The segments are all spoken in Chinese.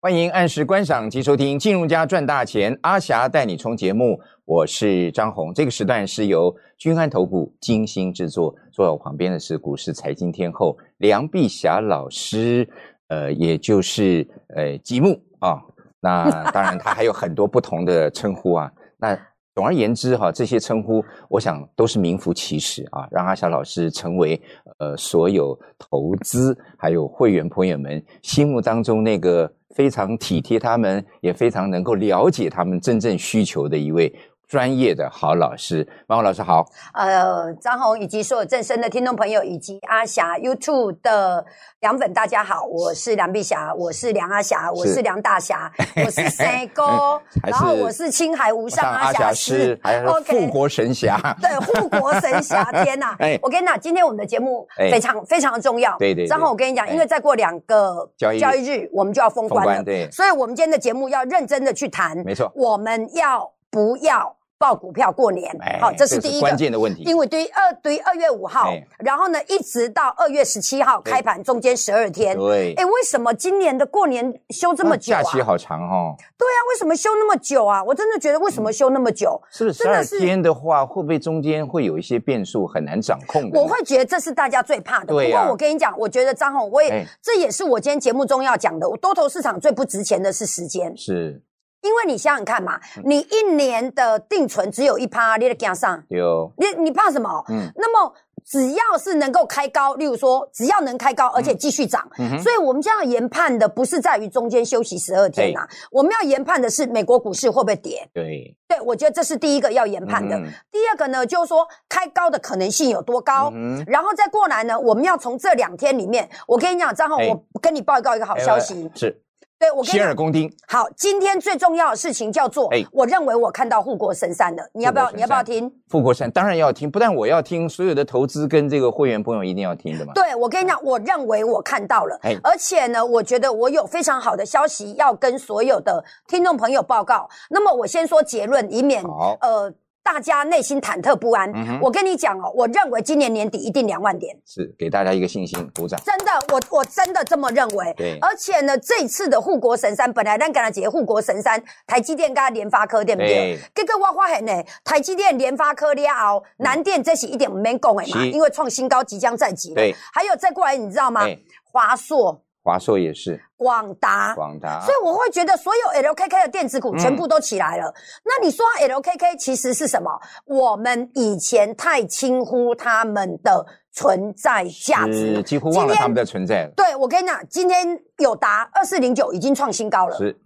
欢迎按时观赏及收听《金融家赚大钱》，阿霞带你冲节目，我是张红。这个时段是由君安投顾精心制作，坐在我旁边的是股市财经天后梁碧霞老师，呃，也就是呃吉木啊。那当然，他还有很多不同的称呼啊。那总而言之哈、这些称呼我想都是名副其实啊，让阿霞老师成为呃所有投资还有会员朋友们心目当中那个非常体贴他们，也非常能够了解他们真正需求的一位专业的好老师。马红老师好，呃，张红以及所有正声的听众朋友，以及阿霞 YouTube 的梁粉，大家好，我是梁碧霞，我是梁阿霞，我是是梁 大侠，我是谁哥还，然后是我是青海无上阿霞霞师师，还有富 OK 国神 侠，对，护国神侠，天呐！ 哎我跟你讲，今天我们的节目哎非常、非常的重要。对对对张宏，我跟你讲，哎因为再过两个交易日日，我们就要封关封了。关对所以我们今天的节目要认真的去谈，没错我们要不要报股票过年？哎好、这是第一个。关键的问题。因为对于二对于二月五号哎，然后呢，一直到二月十七号对开盘，中间十二天。对，哎，为什么今年的过年休这么久啊？假期对好长哦，啊，为什么休那么久啊？我真的觉得为什么休那么久？是不是十真二的是天的话，会不会中间会有一些变数，很难掌控的呢？我会觉得这是大家最怕的。嗯对啊呀不过我跟你讲，我觉得张红，我也、哎这也是我今天节目中要讲的。我多头市场最不值钱的是时间，是因为你想想看嘛，嗯你一年的定存只有一趴，你的加上，有，你你怕什么？嗯那么只要是能够开高，例如说只要能开高，而且继续涨，嗯哼，所以我们这样研判的不是在于中间休息十二天呐、我们要研判的是美国股市会不会跌。对，对，我觉得这是第一个要研判的。嗯第二个呢，就是说开高的可能性有多高。嗯哼然后再过来呢，我们要从这两天里面，我跟你讲，张浩，哎我跟你报告一个好消息，是对我跟你洗耳讲，恭听，好，今天最重要的事情叫做哎，我认为我看到护国神山了，你要不护要？国神山你要不要听？富国山当然要听，不但我要听，所有的投资跟这个会员朋友一定要听的嘛。对我跟你讲，我认为我看到了嗯哎，而且呢，我觉得我有非常好的消息要跟所有的听众朋友报告。那么我先说结论，以免好呃大家内心忐忑不安嗯哼。我跟你讲哦，我认为今年年底一定两万点。是给大家一个信心，鼓掌。真的，我我真的这么认为。对而且呢，这一次的护国神山，本来咱跟他姐护国神山，台积电跟联发科对不对对？这个我发现呢，台积电、联发科了后，南电这是一点唔免讲的嘛，是因为创新高即将在即了。对，还有再过来，你知道吗哎？华硕、华硕也是，广达。广达所以我会觉得所有 LKK 的电子股嗯全部都起来了。那你说 LKK 其实是什么？我们以前太轻忽他们的存在价值是，几乎忘了今天他们的存在了。对，我跟你讲，今天友达二四零九已经创新高了，是，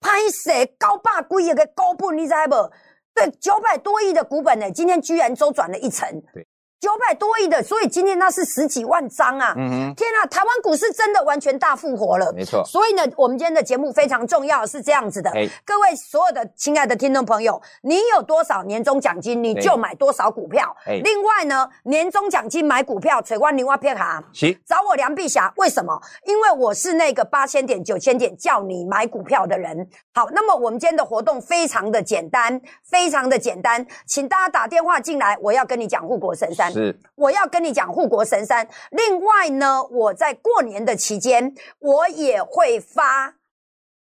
拍谁高霸贵一个高本，你知道不？对，九百多亿的股本呢，今天居然周转了一成，对，九百多亿的，所以今天那是十几万张啊！嗯天啊，台湾股市真的完全大复活了哼，。没错。所以呢，我们今天的节目非常重要，是这样子的。哎，各位所有的亲爱的听众朋友，你有多少年终奖金，你就对买多少股票哎。另外呢，年终奖金买股票，垂万零万撇卡。行，找我梁碧霞，为什么？因为我是那个八千点、九千点叫你买股票的人。好，那么我们今天的活动非常的简单，非常的简单，请大家打电话进来，我要跟你讲护国神山，是我要跟你讲护国神山。另外呢，我在过年的期间，我也会发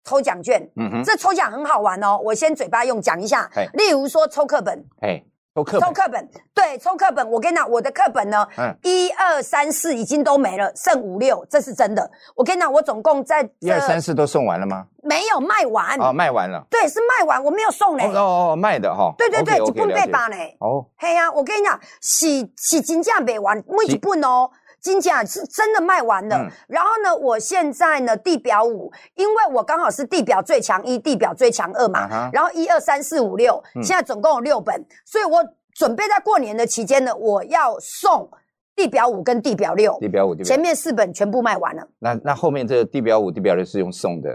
抽奖券。嗯哼，这抽奖很好玩哦，我先嘴巴用讲一下哎，例如说抽课本，哎，都课抽本，课本，对，抽课本。我跟你讲，我的课本呢，嗯，一二三四已经都没了，剩五六，这是真的。我跟你讲，我总共在一二这三四都送完了吗？没有卖完，啊，卖完了。对，是卖完，我没有送嘞。哦哦哦，卖的哈。对对对， OK，OK，一本了解八八呢。哦，嘿呀、我跟你讲，洗洗金价没完，每是一本哦。金价是真的卖完了，嗯然后呢，我现在呢地表五，因为我刚好是地表最强一、地表最强二嘛，啊哈然后一二三四五六，嗯现在总共有六本，所以我准备在过年的期间呢，我要送地表五跟地表六，地表五，地表前五。面四本全部卖完了，那那后面这个地表五、地表六是用送的，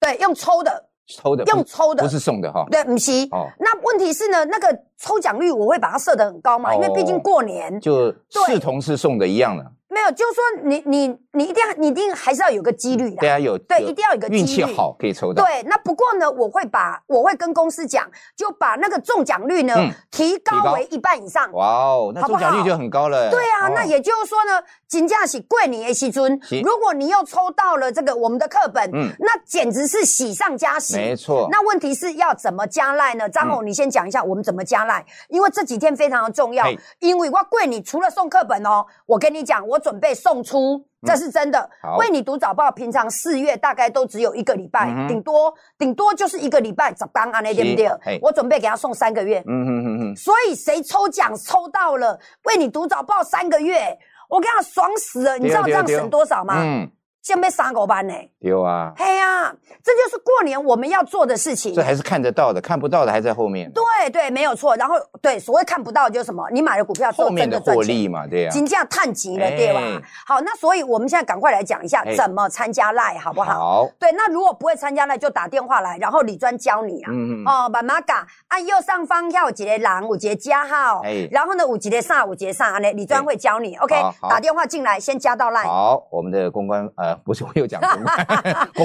对，用抽的，抽的，用抽的呃不，是送的哈。对，唔是。哦，那问题是呢，那个抽奖率我会把它设得很高嘛，因为毕哦竟过年，就视同是送的一样了。没有，就是说你你你一定要你一定还是要有个几率的。对啊，有对有一定要有个运几气率好可以抽到。对，那不过呢，我会把我会跟公司讲，就把那个中奖率呢、嗯提提高高为一半以上。哇哦，那好不中奖率好就很高了。对啊，哦那也就是说呢，金价喜贵你的西尊是，如果你又抽到了这个我们的课本，嗯那简直是喜上加喜。没错。那问题是要怎么加赖呢？张嗯红，你先讲一下我们怎么加赖，因为这几天非常的重要嘿。因为我贵你除了送课本哦，我跟你讲，我准备送出，这是真的。嗯好为你读早报，平常四月大概都只有一个礼拜嗯，哼顶多顶多就是一个礼拜，十当安内对不对嘿？我准备给他送三个月，嗯哼哼哼，所以谁抽奖抽到了，为你读早报三个月，我跟他爽死了。你知道这对啊对啊样对啊省多少吗？嗯，现在三狗班呢？丢啊，嘿呀，这就是过年我们要做的事情这。还是看得到的，看不到的还在后面。对对，没有错。然后对，所谓看不到就是什么，你买了股票之后后面真的的赚获钱。利嘛，对呀、金价探级了，对吧哎？好，那所以我们现在赶快来讲一下哎怎么参加赖，好不好？好，对，那如果不会参加赖，就打电话来，然后李专教你啊。嗯，哦，慢慢讲，啊，右上方要有一个人，有一个加号哎，然后呢，有一个啥，有一个啥，安尼李专哎会教你。OK，好好打电话进来，先加到赖。好，我们的公关呃，不是我又讲公 关，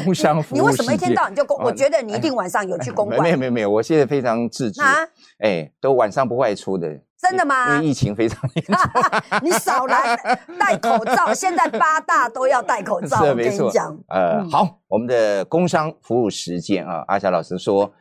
工商服务你为什么一世界天到晚就公？哦我觉得你一定晚上有去 公没馆有没有没有，我现在非常自制，啊？哎，都晚上不外出的。真的吗因为疫情非常严重， 你少来戴口罩，现在八大都要戴口罩。是啊我没跟错你讲，呃，嗯好，我们的工商服务实践啊，阿霞老师说，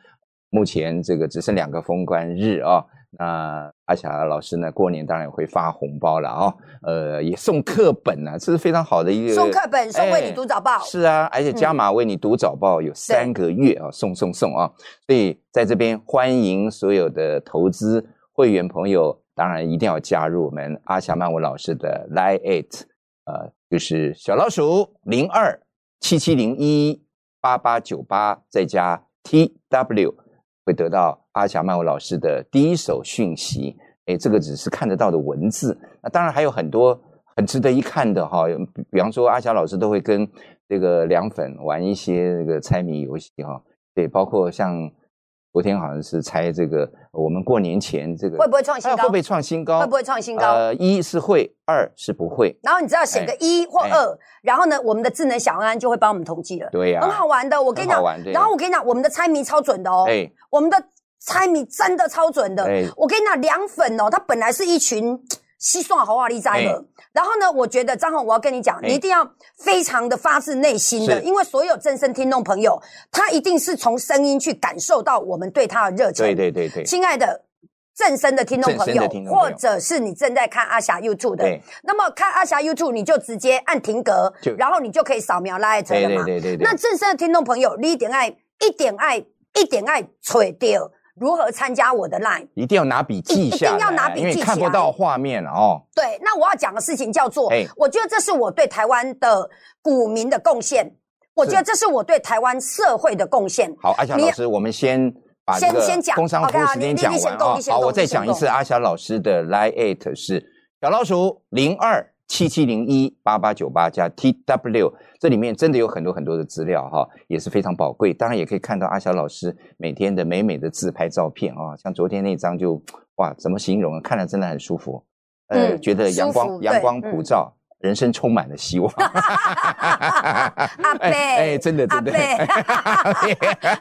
目前这个只剩两个封关日啊。那阿霞老师呢？过年当然会发红包了啊、呃，也送课本啊，这是非常好的一个送课本，送哎为你读早报，嗯是啊，而且加码为你读早报有三个月啊，送送送啊！所以在这边欢迎所有的投资会员朋友，当然一定要加入我们阿霞曼文老师的 Line It，呃，就是小老鼠零二七七零一八八九八，再加 T W，会得到阿霞曼文老师的第一手讯息。哎，这个只是看得到的文字，那当然还有很多很值得一看的哈，有比比方说阿霞老师都会跟这个凉粉玩一些这个猜谜游戏哈，对，包括像昨天好像是猜这个我们过年前这个会不会创新哎高？会不会创新高？会不会创新高？呃，一是会，二是不会，然后你只要写个一或哎二，然后呢，我们的智能小安安就会帮我们统计了，对呀、啊很好玩的。我跟你很讲好玩，对然后我跟你讲，我们的猜谜超准的哦，哎，我们的猜谜真的超准的哎。我跟你讲，凉粉哦，它本来是一群西算豪华利哉哎的，然后呢，我觉得张宏，我要跟你讲，哎你一定要非常的发自内心的，是因为所有正声听众朋友，他一定是从声音去感受到我们对他的热情。对对对对亲爱的。正声的听众朋正友声的听，众朋或友者是你正在看阿霞 YouTube 的对，那么看阿霞 YouTube，你就直接按停格就，然后你就可以扫描拉一锤对了嘛对。对对对，那正声的听众朋友，你一点爱，一点爱，一点爱，锤掉如何参加我的 line？一定要拿笔记一定下来，要拿笔因为记看起不来到画面了哦。对，那我要讲的事情叫做哎，我觉得这是我对台湾的股民的贡献，我觉得这是我对台湾社会的贡献。好，阿霞你老师，我们先把这先个先讲工商服 OK，务好时间你讲你完先动啊你。先好，动我你再先讲一动次阿霞老师的 Line at 是小老鼠零二七七零一八八九八加 T W，这里面真的有很多很多的资料哈，也是非常宝贵。当然也可以看到阿霞老师每天的美美的自拍照片啊，像昨天那张就哇，怎么形容？啊看了真的很舒服，呃，嗯觉得舒阳服光阳对光嗯普照，人生充满了希 望。阿阿伯哎，真的阿真的，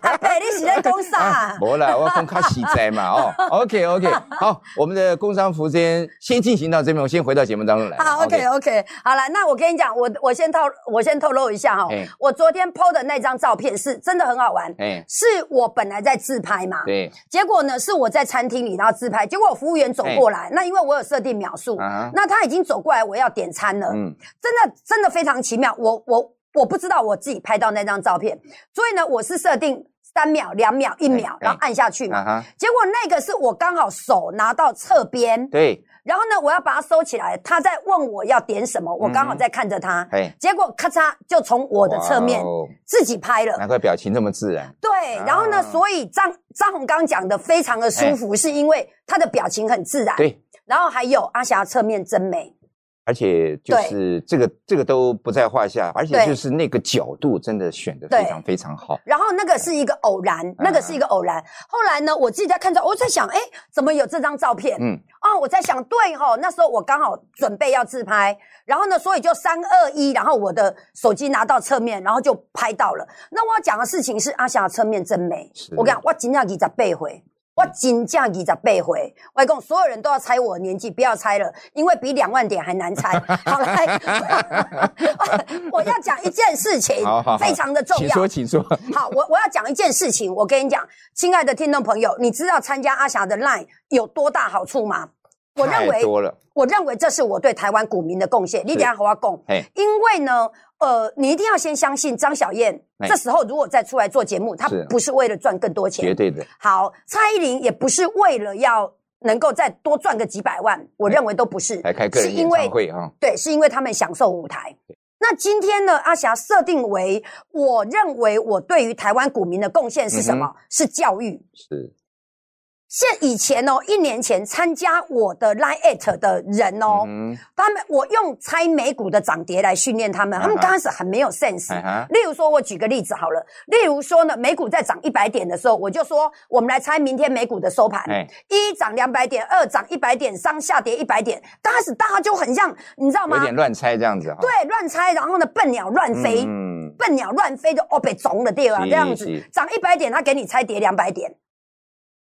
阿伯，你是在讲 啥？ 没啦，我讲较实在嘛哦。OK OK，好，我们的工商服务间先进行到这边，我先回到节目当中来。好，OK 哦 OK，好了，那我跟你讲，我我先透我先透露一下哈、哎我昨天 PO 的那张照片是真的很好玩，哎，是我本来在自拍嘛，对，结果呢是我在餐厅里然后自拍，结果我服务员走过来，那因为我有设定秒数，哎啊哈，那他已经走过来，我要点餐了，嗯，真的真的非常奇妙，我我我不知道我自己拍到那张照片，所以呢我是设定三秒、两秒、一秒，哎然后按下去嘛，啊哈，结果那个是我刚好手拿到侧边，对，然后呢，我要把它收起来，他在问我要点什么，我嗯刚好在看着他，哎，结果咔嚓就从我的侧面哇哦自己拍了。难怪表情这么自然。对，然后呢，啊哎所以张张红刚讲的非常的舒服，是因为他的表情很自然。对，然后还有阿霞侧面真美，而且就是这个这个都不在话下，而且对就是那个角度真的选的非常非常好。然后那个是一个偶嗯然，那个是一个偶然。后来呢，我自己在看照，我在想，哎，怎么有这张照片？嗯，哦，我在想，对哈、那时候我刚好准备要自拍，然后呢，所以就三二一，然后我的手机拿到侧面，然后就拍到了。那我要讲的事情是，阿霞的侧面真美是。我跟你讲，我真正二十八回。我真正二十八回，我跟你讲所有人都要猜我的年纪，不要猜了，因为比两万点还难猜。 好来， 我要讲一件事情好好好，非常的重请要说，。请说。 好，我我要讲一件事情，我跟你讲，亲爱的听众朋友，你知道参加阿霞的 Line 有多大好处吗？我认太为，多了，我认为这是我对台湾股民的贡献。你等一下和我讲，哎，因为呢，呃，你一定要先相信张小燕。哎这时候如果再出来做节目，她是啊不是为了赚更多钱，绝对的，好，蔡依林也不是为了要能够再多赚个几百万，我认为都不是，来哎开个是人因演为唱会啊，对，是因为他们享受舞台。那今天呢，阿霞设定为，我认为我对于台湾股民的贡献是什么？嗯是教育。是现以前哦，一年前参加我的 Line at 的人哦，嗯哼，他们我用猜美股的涨跌来训练他们，他们啊哈刚开始很没有 sense。哎哈，例如说，我举个例子好了，例如说呢，美股在涨一百点的时候，我就说，我们来猜明天美股的收盘。哎，一涨两百点，二涨一百点，三下跌一百点。刚开始大家就很像，你知道有吗？点乱猜这样子啊，对，乱猜，然后呢，笨鸟乱飞，嗯，笨鸟乱飞就哦被中了对吧？是这样是子涨一百点，他给你猜跌两百点，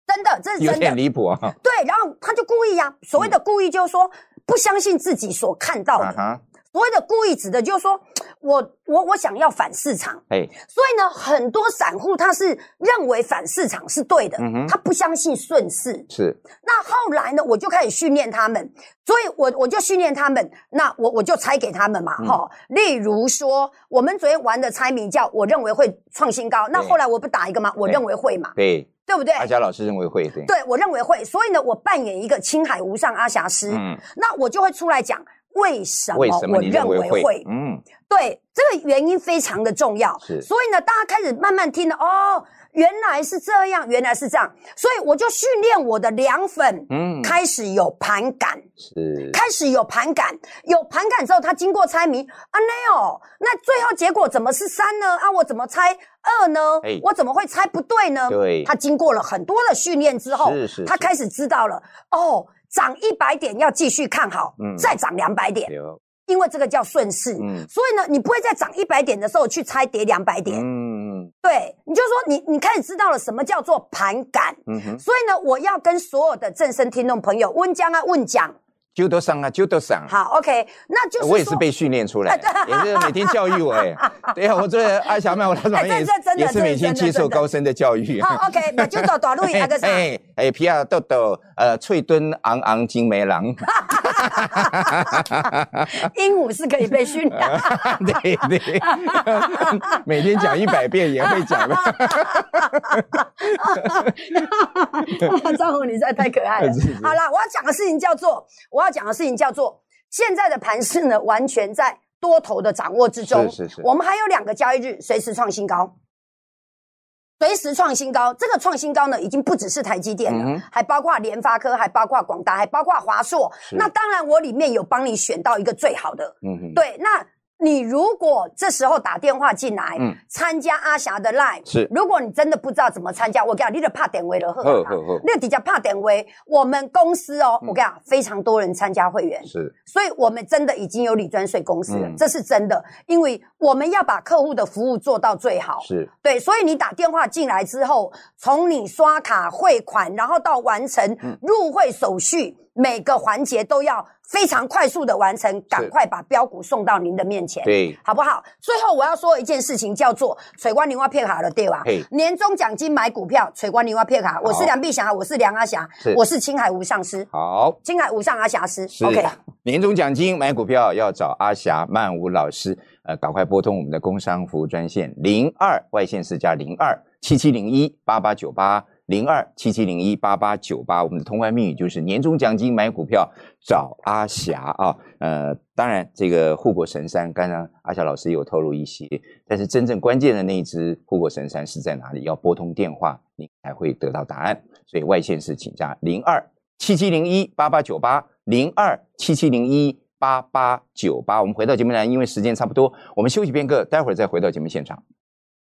真的，这是 有真点的。哦离谱 啊，对，然后他就故意呀、所谓的故意就是说、不相信自己所看到的，啊哈，所谓的故意指的就是说我我我想要反市场，哎，所以呢，很多散户他是认为反市场是对的，嗯哼他不相信顺势，是那后来呢，我就开始训练他们，所以我我就训练他们，那我我就猜给他们嘛，嗯哈、例如说，我们昨天玩的猜谜叫，我认为会创新高，那对后来我不打一个吗？我认为会嘛，对，对不对？阿佳老师认为会对，对，我认为会，所以呢，我扮演一个青海无上阿霞师，嗯，那我就会出来讲为什么为什么我你认认为为会。会？嗯，对，这个原因非常的重要。是所以呢，大家开始慢慢听了，哦，原来是这样，原来是这样，所以我就训练我的凉粉，嗯开始有盘感，是开始有盘感，有盘感之后，他经过猜谜，啊那哦，那最后结果怎么是三呢？啊，我怎么猜二呢？哎我怎么会猜不对呢？对他经过了很多的训练之后，是是他是开始知道了，哦，涨一百点要继续看好，嗯再涨两百点，有，因为这个叫顺势。嗯所以呢，你不会在涨一百点的时候去猜跌两百点，嗯对，你就说你你开始知道了什么叫做盘感。嗯哼，所以呢，我要跟所有的正声听众朋友问江啊问讲，就都上啊，就都上，好，OK，那就是我也是说被训练出 来，的，也是每天教育我哎。对呀，我做阿霞曼，我他专哎这业这真的也是每天接受高深的教育。 好，OK，那就走短路啊个啥？哎哎，皮亚豆豆，呃，翠墩昂昂金梅郎，哎鹦鹉是可以被训 练。对对， 每天讲一百遍也会讲的，哦张红，你实在太可爱 了是是。好啦，我要讲的事情叫做，我要讲的事情叫做，现在的盘势呢，完全在多头的掌握之中。是是是我们还有两个交易日，随时创新高，随时创新高。这个创新高呢，已经不只是台积电了，嗯哼还包括联发科，还包括广达，还包括华硕。是那当然，我里面有帮你选到一个最好的。嗯哼，对，那你如果这时候打电话进来，嗯参加阿霞的 line，是如果你真的不知道怎么参加，我跟你讲，你就怕点位了，好好嗯啦好好你就直接怕点位。我们公司哦，我跟你讲，非常多人参加会员，是所以我们真的已经有理专税公司了，嗯这是真的，因为我们要把客户的服务做到最好。是，对，所以你打电话进来之后，从你刷卡汇款，然后到完成嗯入会手续，每个环节都要非常快速的完成，赶快把标股送到您的面前。。对，好不好？最后我要说一件事情，叫做“水光零花片卡”了，对吧嘿？年终奖金买股票，水光零花片卡。我是梁碧霞，我是梁阿霞是，我是青海无上师，好。青海无上阿霞师。是啊 OK，年终奖金买股票要找阿霞曼舞老师，呃，赶快拨通我们的工商服务专线零二外线是加零二七七零一八八九八零二七七零一八八九八，我们的通关密语就是年终奖金买股票找阿霞啊，呃，当然这个护国神山，刚刚阿霞老师有透露一些，但是真正关键的那一只护国神山是在哪里？要拨通电话，你才会得到答案。所以外线是请加零二七七零一八八九八零二七七零一八八九八。我们回到节目来，因为时间差不多，我们休息片刻，待会儿再回到节目现场。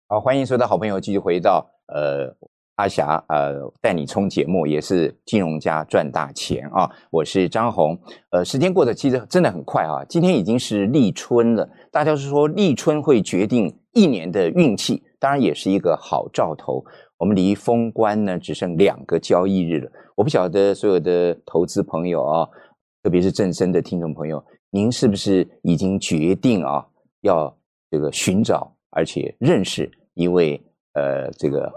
好，欢迎所有的好朋友继续回到呃阿霞呃带你冲节目，也是金融家赚大钱啊！我是张红。呃，时间过得其实真的很快啊，今天已经是立春了。大家是说立春会决定一年的运气，当然也是一个好兆头。我们离封关呢只剩两个交易日了，我不晓得所有的投资朋友啊，特别是正身的听众朋友，您是不是已经决定啊要这个寻找而且认识一位呃这个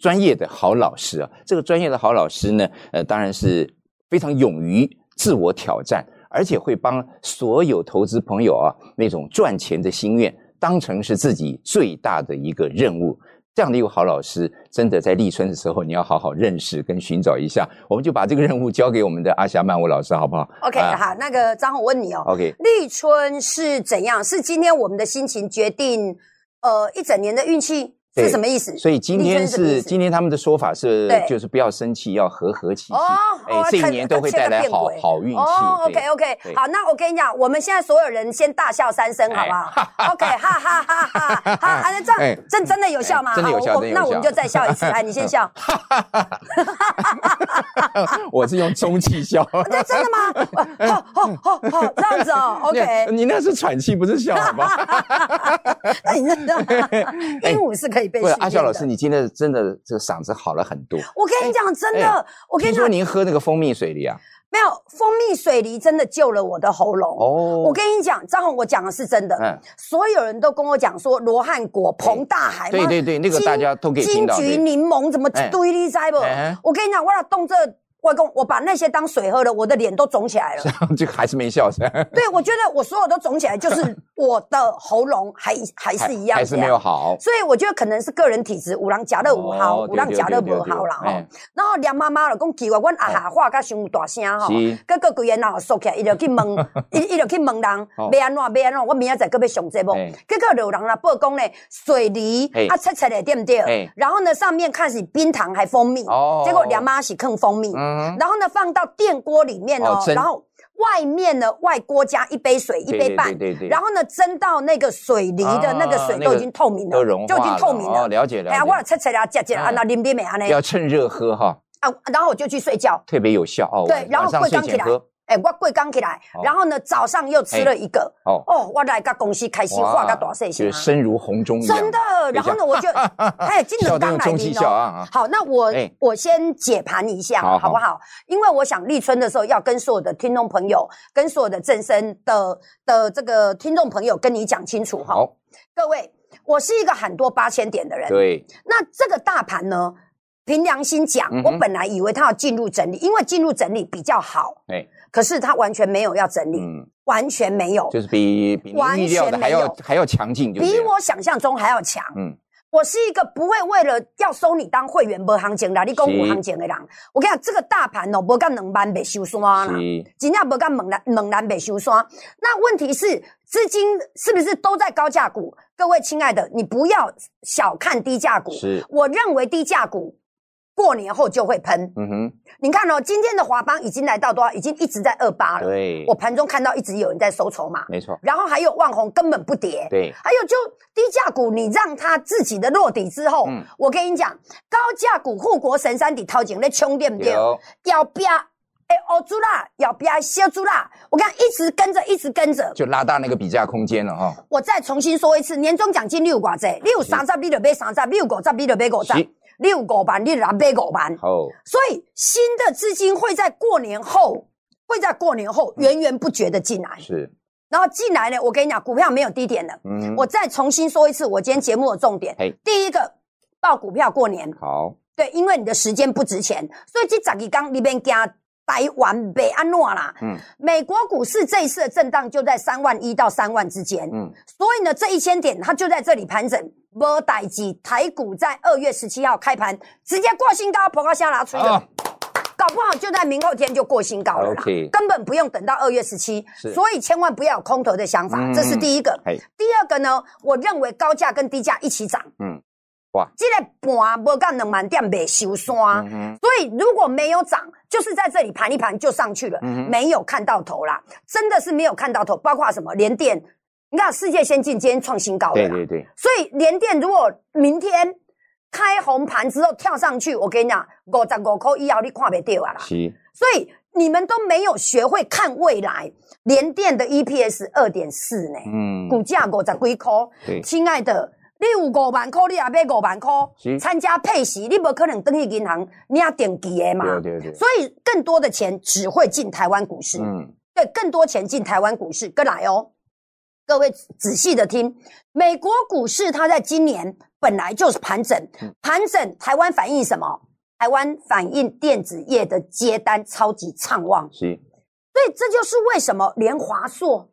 专业的好老师啊？这个专业的好老师呢，呃，当然是非常勇于自我挑战，而且会帮所有投资朋友啊那种赚钱的心愿当成是自己最大的一个任务。这样的一个好老师，真的在立春的时候，你要好好认识跟寻找一下。我们就把这个任务交给我们的阿霞曼舞老师，好不 好 OK，、啊好，那个张红问你哦， ？OK，立春是怎样？是今天我们的心情决定，呃，一整年的运气是对什么意思？所以今天立春是什么意是思今天他们的说法是对，就是不要生气，要和和气气。哎哦哦这一看年都会带来看这个好骗鬼好运气。哦对，OK OK，对好，那我跟你讲，我们现在所有人先大笑三声，好不好？OK，哈哈哈哈 哈！好，啊那这哎样这真的有效吗？哎真的有好效我真的有那我们效就再笑一次，来，哎你 先笑。嗯我是用中气 笑。这真的吗？哦哦哦哦，这样子 哦，OK。你那是喘气，不是笑，好 吧？那你知道吗？鹦鹉是可以被哎不训是练的。阿笑老师，你今天真的这个嗓子好了很多。我跟你讲，真哎的，我跟听你讲说，您喝那个蜂蜜水梨啊？没有蜂蜜水梨真的救了我的喉咙。哦，我跟你讲，张红，我讲的是真的。嗯，所有人都跟我讲说，罗汉果、彭大海对嘛对对，那个金大家都可以听到。金桔、对柠檬怎么哎堆你知不哎哎？我跟你讲，我要动这外公，我把那些当水喝了，我的脸都肿起来了。 这个还是没笑声，对，我觉得我所有都肿起来，就是我的喉咙 还还是一样还这是没样有好。所以我觉得可能是个人体质，五郎夹的五号，哦五郎夹的五号啦哎吼。然后梁妈妈就讲奇怪，阮阿霞话甲伤有大声吼，是结果规个脑缩起来，伊就去 问，伊伊就去问人，哦要安怎要安怎，我明仔载搁要上节目哎，结果就有人来报讲咧，水梨哎啊切切的对不对哎？然后呢上面看是冰糖还蜂蜜，哦结果梁妈是坑蜂蜜，嗯，然后呢放到电锅里面哦哦，蒸然后外面呢外锅加一杯水一对杯半对对对，对然后呢蒸到那个水梨的那个啊水那都已个经透明都了融，化就已经透明了。哦，了。了解了哎呀，我解。切切啦，切切啦，嗯那啉啉的安尼要趁热喝哈，啊，然后我就去睡觉。特别有效哦。对晚然后晚上会睡刚起前来喝哎，我贵刚起来哦，然后呢早上又吃了一个。哦。哦，我来个公司开心，画哇个大岁就星是声啊如洪钟一样。 真的，然后呢我就哎，金笑冷得刚用来中气临笑哦。啊啊！好，那我哎我先解盘一下，好好好不好？因为我想立春的时候要跟所有的听众朋友、跟所有的正身的的这个听众朋友跟你讲清楚哈，好，各位，我是一个很多八千点的人，对，那这个大盘呢，凭良心讲，嗯哼我本来以为它要进入整理，因为进入整理比较好，哎，可是它完全没有要整理，嗯，完全没有，就是比比您完预料的全还没要有还要强劲，就比对了我想象中还要强。嗯我是一个不会为了要收你当会员没行情啦，你讲有是行情的人，我跟你讲，这个大盘哦，无干两万袂收山啦，是真正无干猛然猛然袂收山。那问题是，资金是不是都在高价股？各位亲爱的，你不要小看低价股，是，我认为低价股过年后就会喷。嗯哼，你看哦，今天的华邦已经来到多少？已经一直在二八了。对我，盘中看到一直有人在收筹码，没错，然后还有万红根本不跌。对，还有就低价股，你让它自己的落底之后，嗯我跟你讲，高价股护国神山底掏钱在冲对不对？有，要不要？哎，欧猪啦，要不要小猪啦？我刚一直跟着，一直跟着。就拉大那个比价空间了哈。我再重新说一次，年终奖金你有偌济？你有三十，你就买三十；你有五十，你就买五十是；你有五万，你就来买五万。好，所以新的资金会在过年后，会在过年后源源不绝的进来。是，然后进来呢，我跟你讲，股票没有低点的。嗯，我再重新说一次，我今天节目的重点嘿。第一个，报股票过年，好，对，因为你的时间不值钱，所以这十二天里面惊台湾被安诺啦。嗯美国股市这一次的震荡就在三万一到三万之间，嗯，所以呢，这一千点它就在这里盘整。没代机，台股在二月十七号开盘直接过新高，跑到下拿出的。啊，搞不好就在明后天就过新高了啦 OK 根本不用等到二月十七，是所以千万不要有空头的想法，嗯这是第一个。嘿，第二个呢，我认为高价跟低价一起涨，嗯，哇，这个盘无到两万点袂收山。嗯哼，所以如果没有涨，就是在这里盘一盘就上去了，嗯哼没有看到头啦，真的是没有看到头。包括什么联电，你看世界先进今天创新高了对啦，对对，所以联电如果明天开红盘之后跳上去，我跟你讲，五十五块以后你看不到啊啦。是，所以你们都没有学会看未来，联电的 EPS 二点四呢，嗯，股价五十几块。对，亲爱的，你有五万块，你也买五万块是，参加配息，你无可能登去银行领定期的嘛。对对对，所以更多的钱只会进台湾股市，嗯，对，更多钱进台湾股市。跟来哦，各位仔细的听，美国股市它在今年本来就是盘整，嗯盘整台湾反映什么？台湾反映电子业的接单超级畅旺，是，所以这就是为什么连华硕，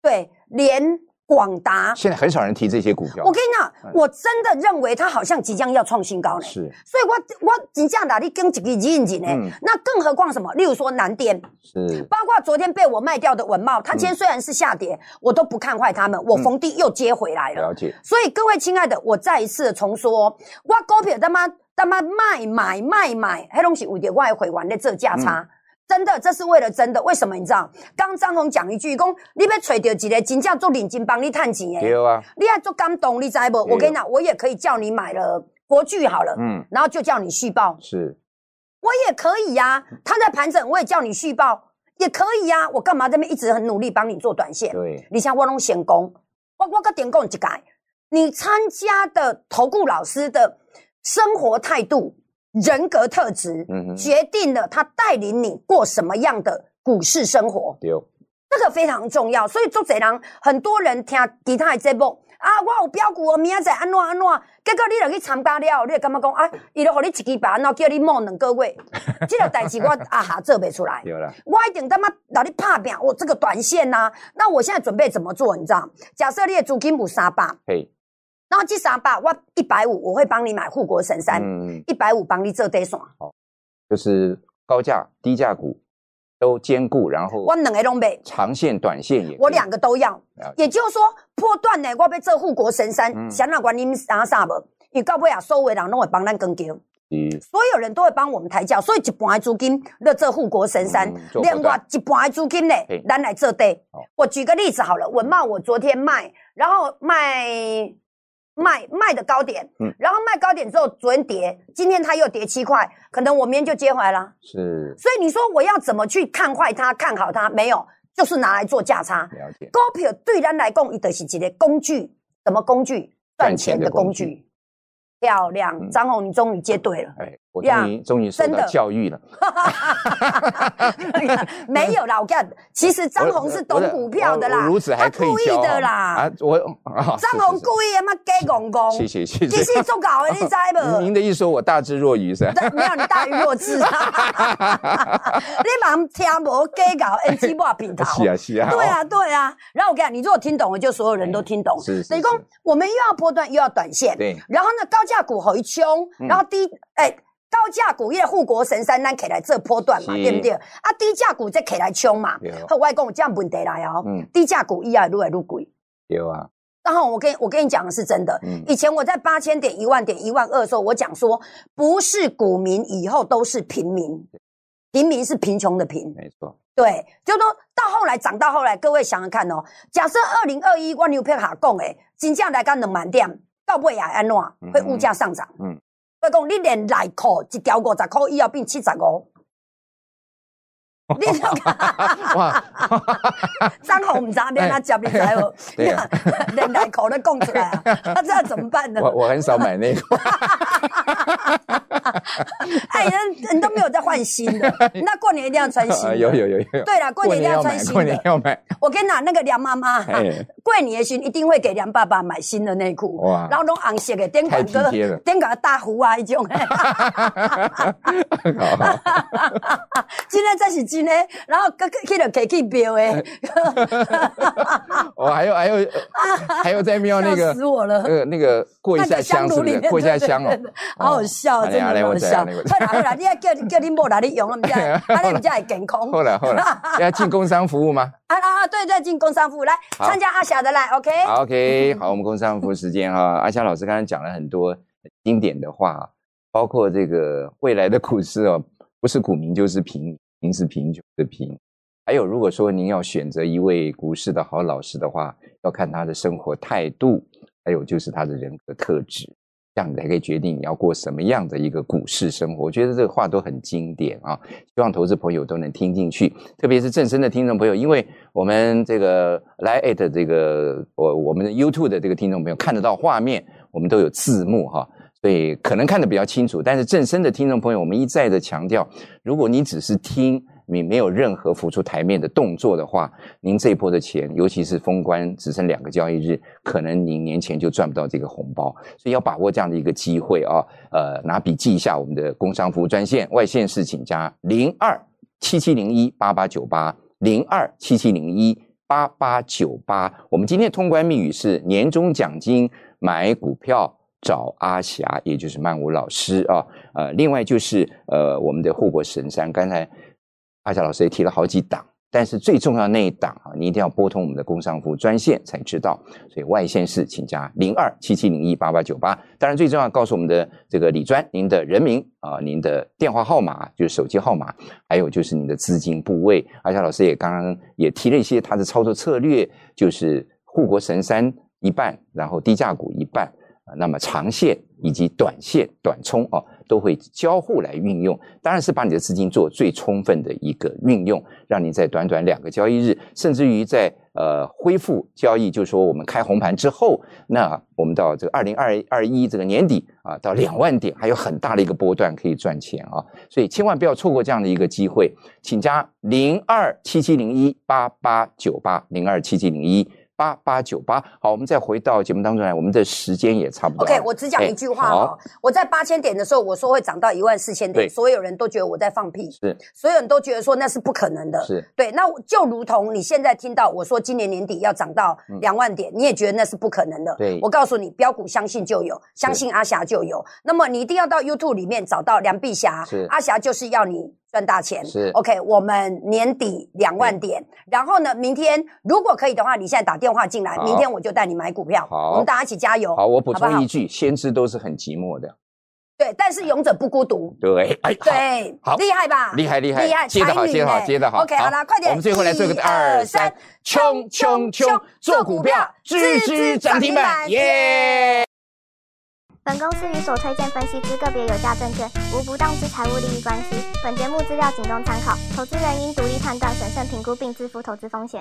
对，连广达，现在很少人提这些股票，我跟你讲哎，我真的认为它好像即将要创新高呢。是所以我我真正哪里跟几个认认呢？嗯那更何况什么？例如说南电，是，包括昨天被我卖掉的文茂，它嗯今天虽然是下跌，我都不看坏它们，我逢低又接回来了。了解，所以各位亲爱的，我再一次的重说哦，我股票他妈他妈卖买卖买，黑东西五点外会员的这价差。真的，这是为了真的。为什么你知道？刚张宏讲一句，讲你要找到一个真正做领金帮你探钱的，对啊，你还做感动，你知不？我跟你讲，我也可以叫你买了国巨好了，嗯，然后就叫你续报，是，我也可以呀、他在盘整，我也叫你续报，也可以呀、我干嘛这边一直很努力帮你做短线？对，你像我拢闲工，我我个点讲一改，你参加的投顾老师的生活态度、人格特质，嗯哼决定了他带领你过什么样的股市生活。对，这个非常重要，所以做侪人，很多人听其他的节目啊，我有标股，我明仔载安怎安怎，结果你落去参加了，你就感觉讲啊，伊都互你一支板，然后叫你摸两个月，这个代志我啊哈做袂出来，有了，我一定他妈老你拍拼，哦我这个短线呐、那我现在准备怎么做？你知道？假设你的租金有三百，嘿，然后这三百我一百五，我会帮你买护国神山，嗯，一百五帮你做底线，就是高价、低价股都兼顾，然后我两个拢买。长线、短线也可以，我两个都要嗯了。也就是说，破段呢，我要做护国神山，嗯想哪管你们啥啥无？因为到尾啊，所有的人拢会帮咱跟丢，是所有人都会帮我们抬轿，所以一半的资金要做护国神山嗯，做另波外段一半的资金呢嘿，咱来做对好。嗯我举个例子好了，文茂我昨天卖，然后卖卖卖的高点嗯，然后卖高点之后，昨天跌，今天它又跌七块，可能我明天就接回来了。是所以你说我要怎么去看坏它、看好它？没有，就是拿来做价差。了解，股票对咱来讲，伊就是一个工具，什么工具？赚赚钱钱的的工工具具。漂亮，嗯。张红，你终于接对了哎，我呀终于终于受真到的教育了，没有啦，我跟你讲，其实张红是懂我的股票的我啦我如此，还他可以故意骄傲的啦。啊！我 啊张红故意他妈假公公，是是是谢谢其谢实谢。做搞的，你知您无您？的一说，我大智若愚是吧？没有，你大于弱智。你蛮听无假搞，演鸡毛平头。是啊 是啊，对哦，啊，对啊。然后我跟你讲，你如果听懂了，就所有人都听懂。是是等于讲是，我们又要波段，又要短线。对，然后呢，高价股回冲，嗯然后低哎。高价股因为护国神山，咱起来这波段嘛，是对不对？啊，低价股再起来冲嘛对。哦好，外公，这样问题来啊哦，嗯低价股一来越来越贵。有啊，然后我跟我跟你讲的是真的，嗯以前我在八千点、一万点、一万二的时候，我讲说，不是股民，以后都是平民，平民是贫穷的贫，没 错，对，就说到后来涨到后来，各位想想看哦，假设二零二一我牛票下讲诶，真正来讲两万点，到尾也安怎会物价上涨？嗯嗯嗯，我讲你连内裤一条五十块以后变七十五， 你就哇，张宏唔知道要安怎么接，你知无？对啊你连内裤都讲出来啊，那这样怎么办呢？我我很少买那个，哎，人人都没有在换新的，那过年一定要穿新 的。有有有有，有对啦，过年一定要要穿买，新过年的。要买，我跟你讲，那个梁妈妈哈哎，过年的时候一定会给梁爸爸买新的内裤，哇然后拢红色的，点管太体贴了个点管大胡啊，一种。好好， 今天这是真的，然后个去了可以去标的，我还有还有呃还有在庙那笑个死我了。呃那个过一那下个香炉是不里是？面，过一下对对香哦对对，好好笑，好嘞真的好嘞很好我知道笑。那个会啦会啦，你要叫叫你某来你用，我们这样，安尼比较会健康。后来后来要进工商服务吗？啊啊啊！对对，进工商服务来好参加阿霞的来，OK。好，OK，好，我们工商服务时间哈、阿霞老师刚才讲了很多经典的话，啊包括这个未来的股市哦，不是股民就是贫，民是贫穷的贫。还有，如果说您要选择一位股市的好老师的话，要看他的生活态度，还有就是他的人格特质，这样你才可以决定你要过什么样的一个股市生活。我觉得这个话都很经典啊，希望投资朋友都能听进去，特别是正声的听众朋友，因为我们这个来艾特这个我我们的 YouTube 的这个听众朋友看得到画面，我们都有字幕哈、所以可能看得比较清楚，但是正声的听众朋友，我们一再的强调，如果你只是听，你没有任何浮出台面的动作的话，您这一波的钱，尤其是封关只剩两个交易日，可能您年前就赚不到这个红包，所以要把握这样的一个机会啊！呃，拿笔记一下我们的工商服务专线，外线是请加零二七七零一八八九八零二七七零一八八九八。我们今天的通关密语是年终奖金买股票。找阿霞，也就是曼舞老师啊，呃，另外就是呃，我们的护国神山，刚才阿霞老师也提了好几档，但是最重要的那一档啊，你一定要拨通我们的工商服务专线才知道。所以外线是请加零二七七零一八八九八。当然最重要，告诉我们的这个李专，您的人名啊、您的电话号码就是手机号码，还有就是你的资金部位。阿霞老师也刚刚也提了一些他的操作策略，就是护国神山一半，然后低价股一半。啊那么长线以及短线短冲啊，都会交互来运用。当然是把你的资金做最充分的一个运用，让你在短短两个交易日，甚至于在呃恢复交易，就是说我们开红盘之后，那我们到这个二零二二一这个年底啊，到两万点还有很大的一个波段可以赚钱啊，所以千万不要错过这样的一个机会，请加零二七七零一八八九八零二七七零一。八八九八，好，我们再回到节目当中来，我们的时间也差不多了。 OK，我只讲一句话哎好哦，我在八千点的时候，我说会涨到一万四千点，对所有人都觉得我在放屁，是所有人都觉得说那是不可能的。啊是对，那我就如同你现在听到我说今年年底要涨到嗯两万点，你也觉得那是不可能的。对我告诉你，标股相信就有，相信阿霞就有。那么你一定要到 YouTube 里面找到梁碧霞是，阿霞就是要你。赚大钱是 OK，我们年底两万点，然后呢，明天如果可以的话，你现在打电话进来，好明天我就带你买股票，好我们大家一起加油。好，我补好不充好一句，先知都是很寂寞的。对，但是勇者不孤独。对，哎，好，对，好厉害吧？厉害厉害，啊厉害，接得好，才女接得好，呢接得好。 OK，好了，快点，我们最后来做一个二三，冲冲冲，做股票，支持涨停板，耶！本公司与所推荐分析之个别有价证券无不当之财务利益关系。本节目资料仅供参考，投资人应独立判断、审慎评估并自负投资风险。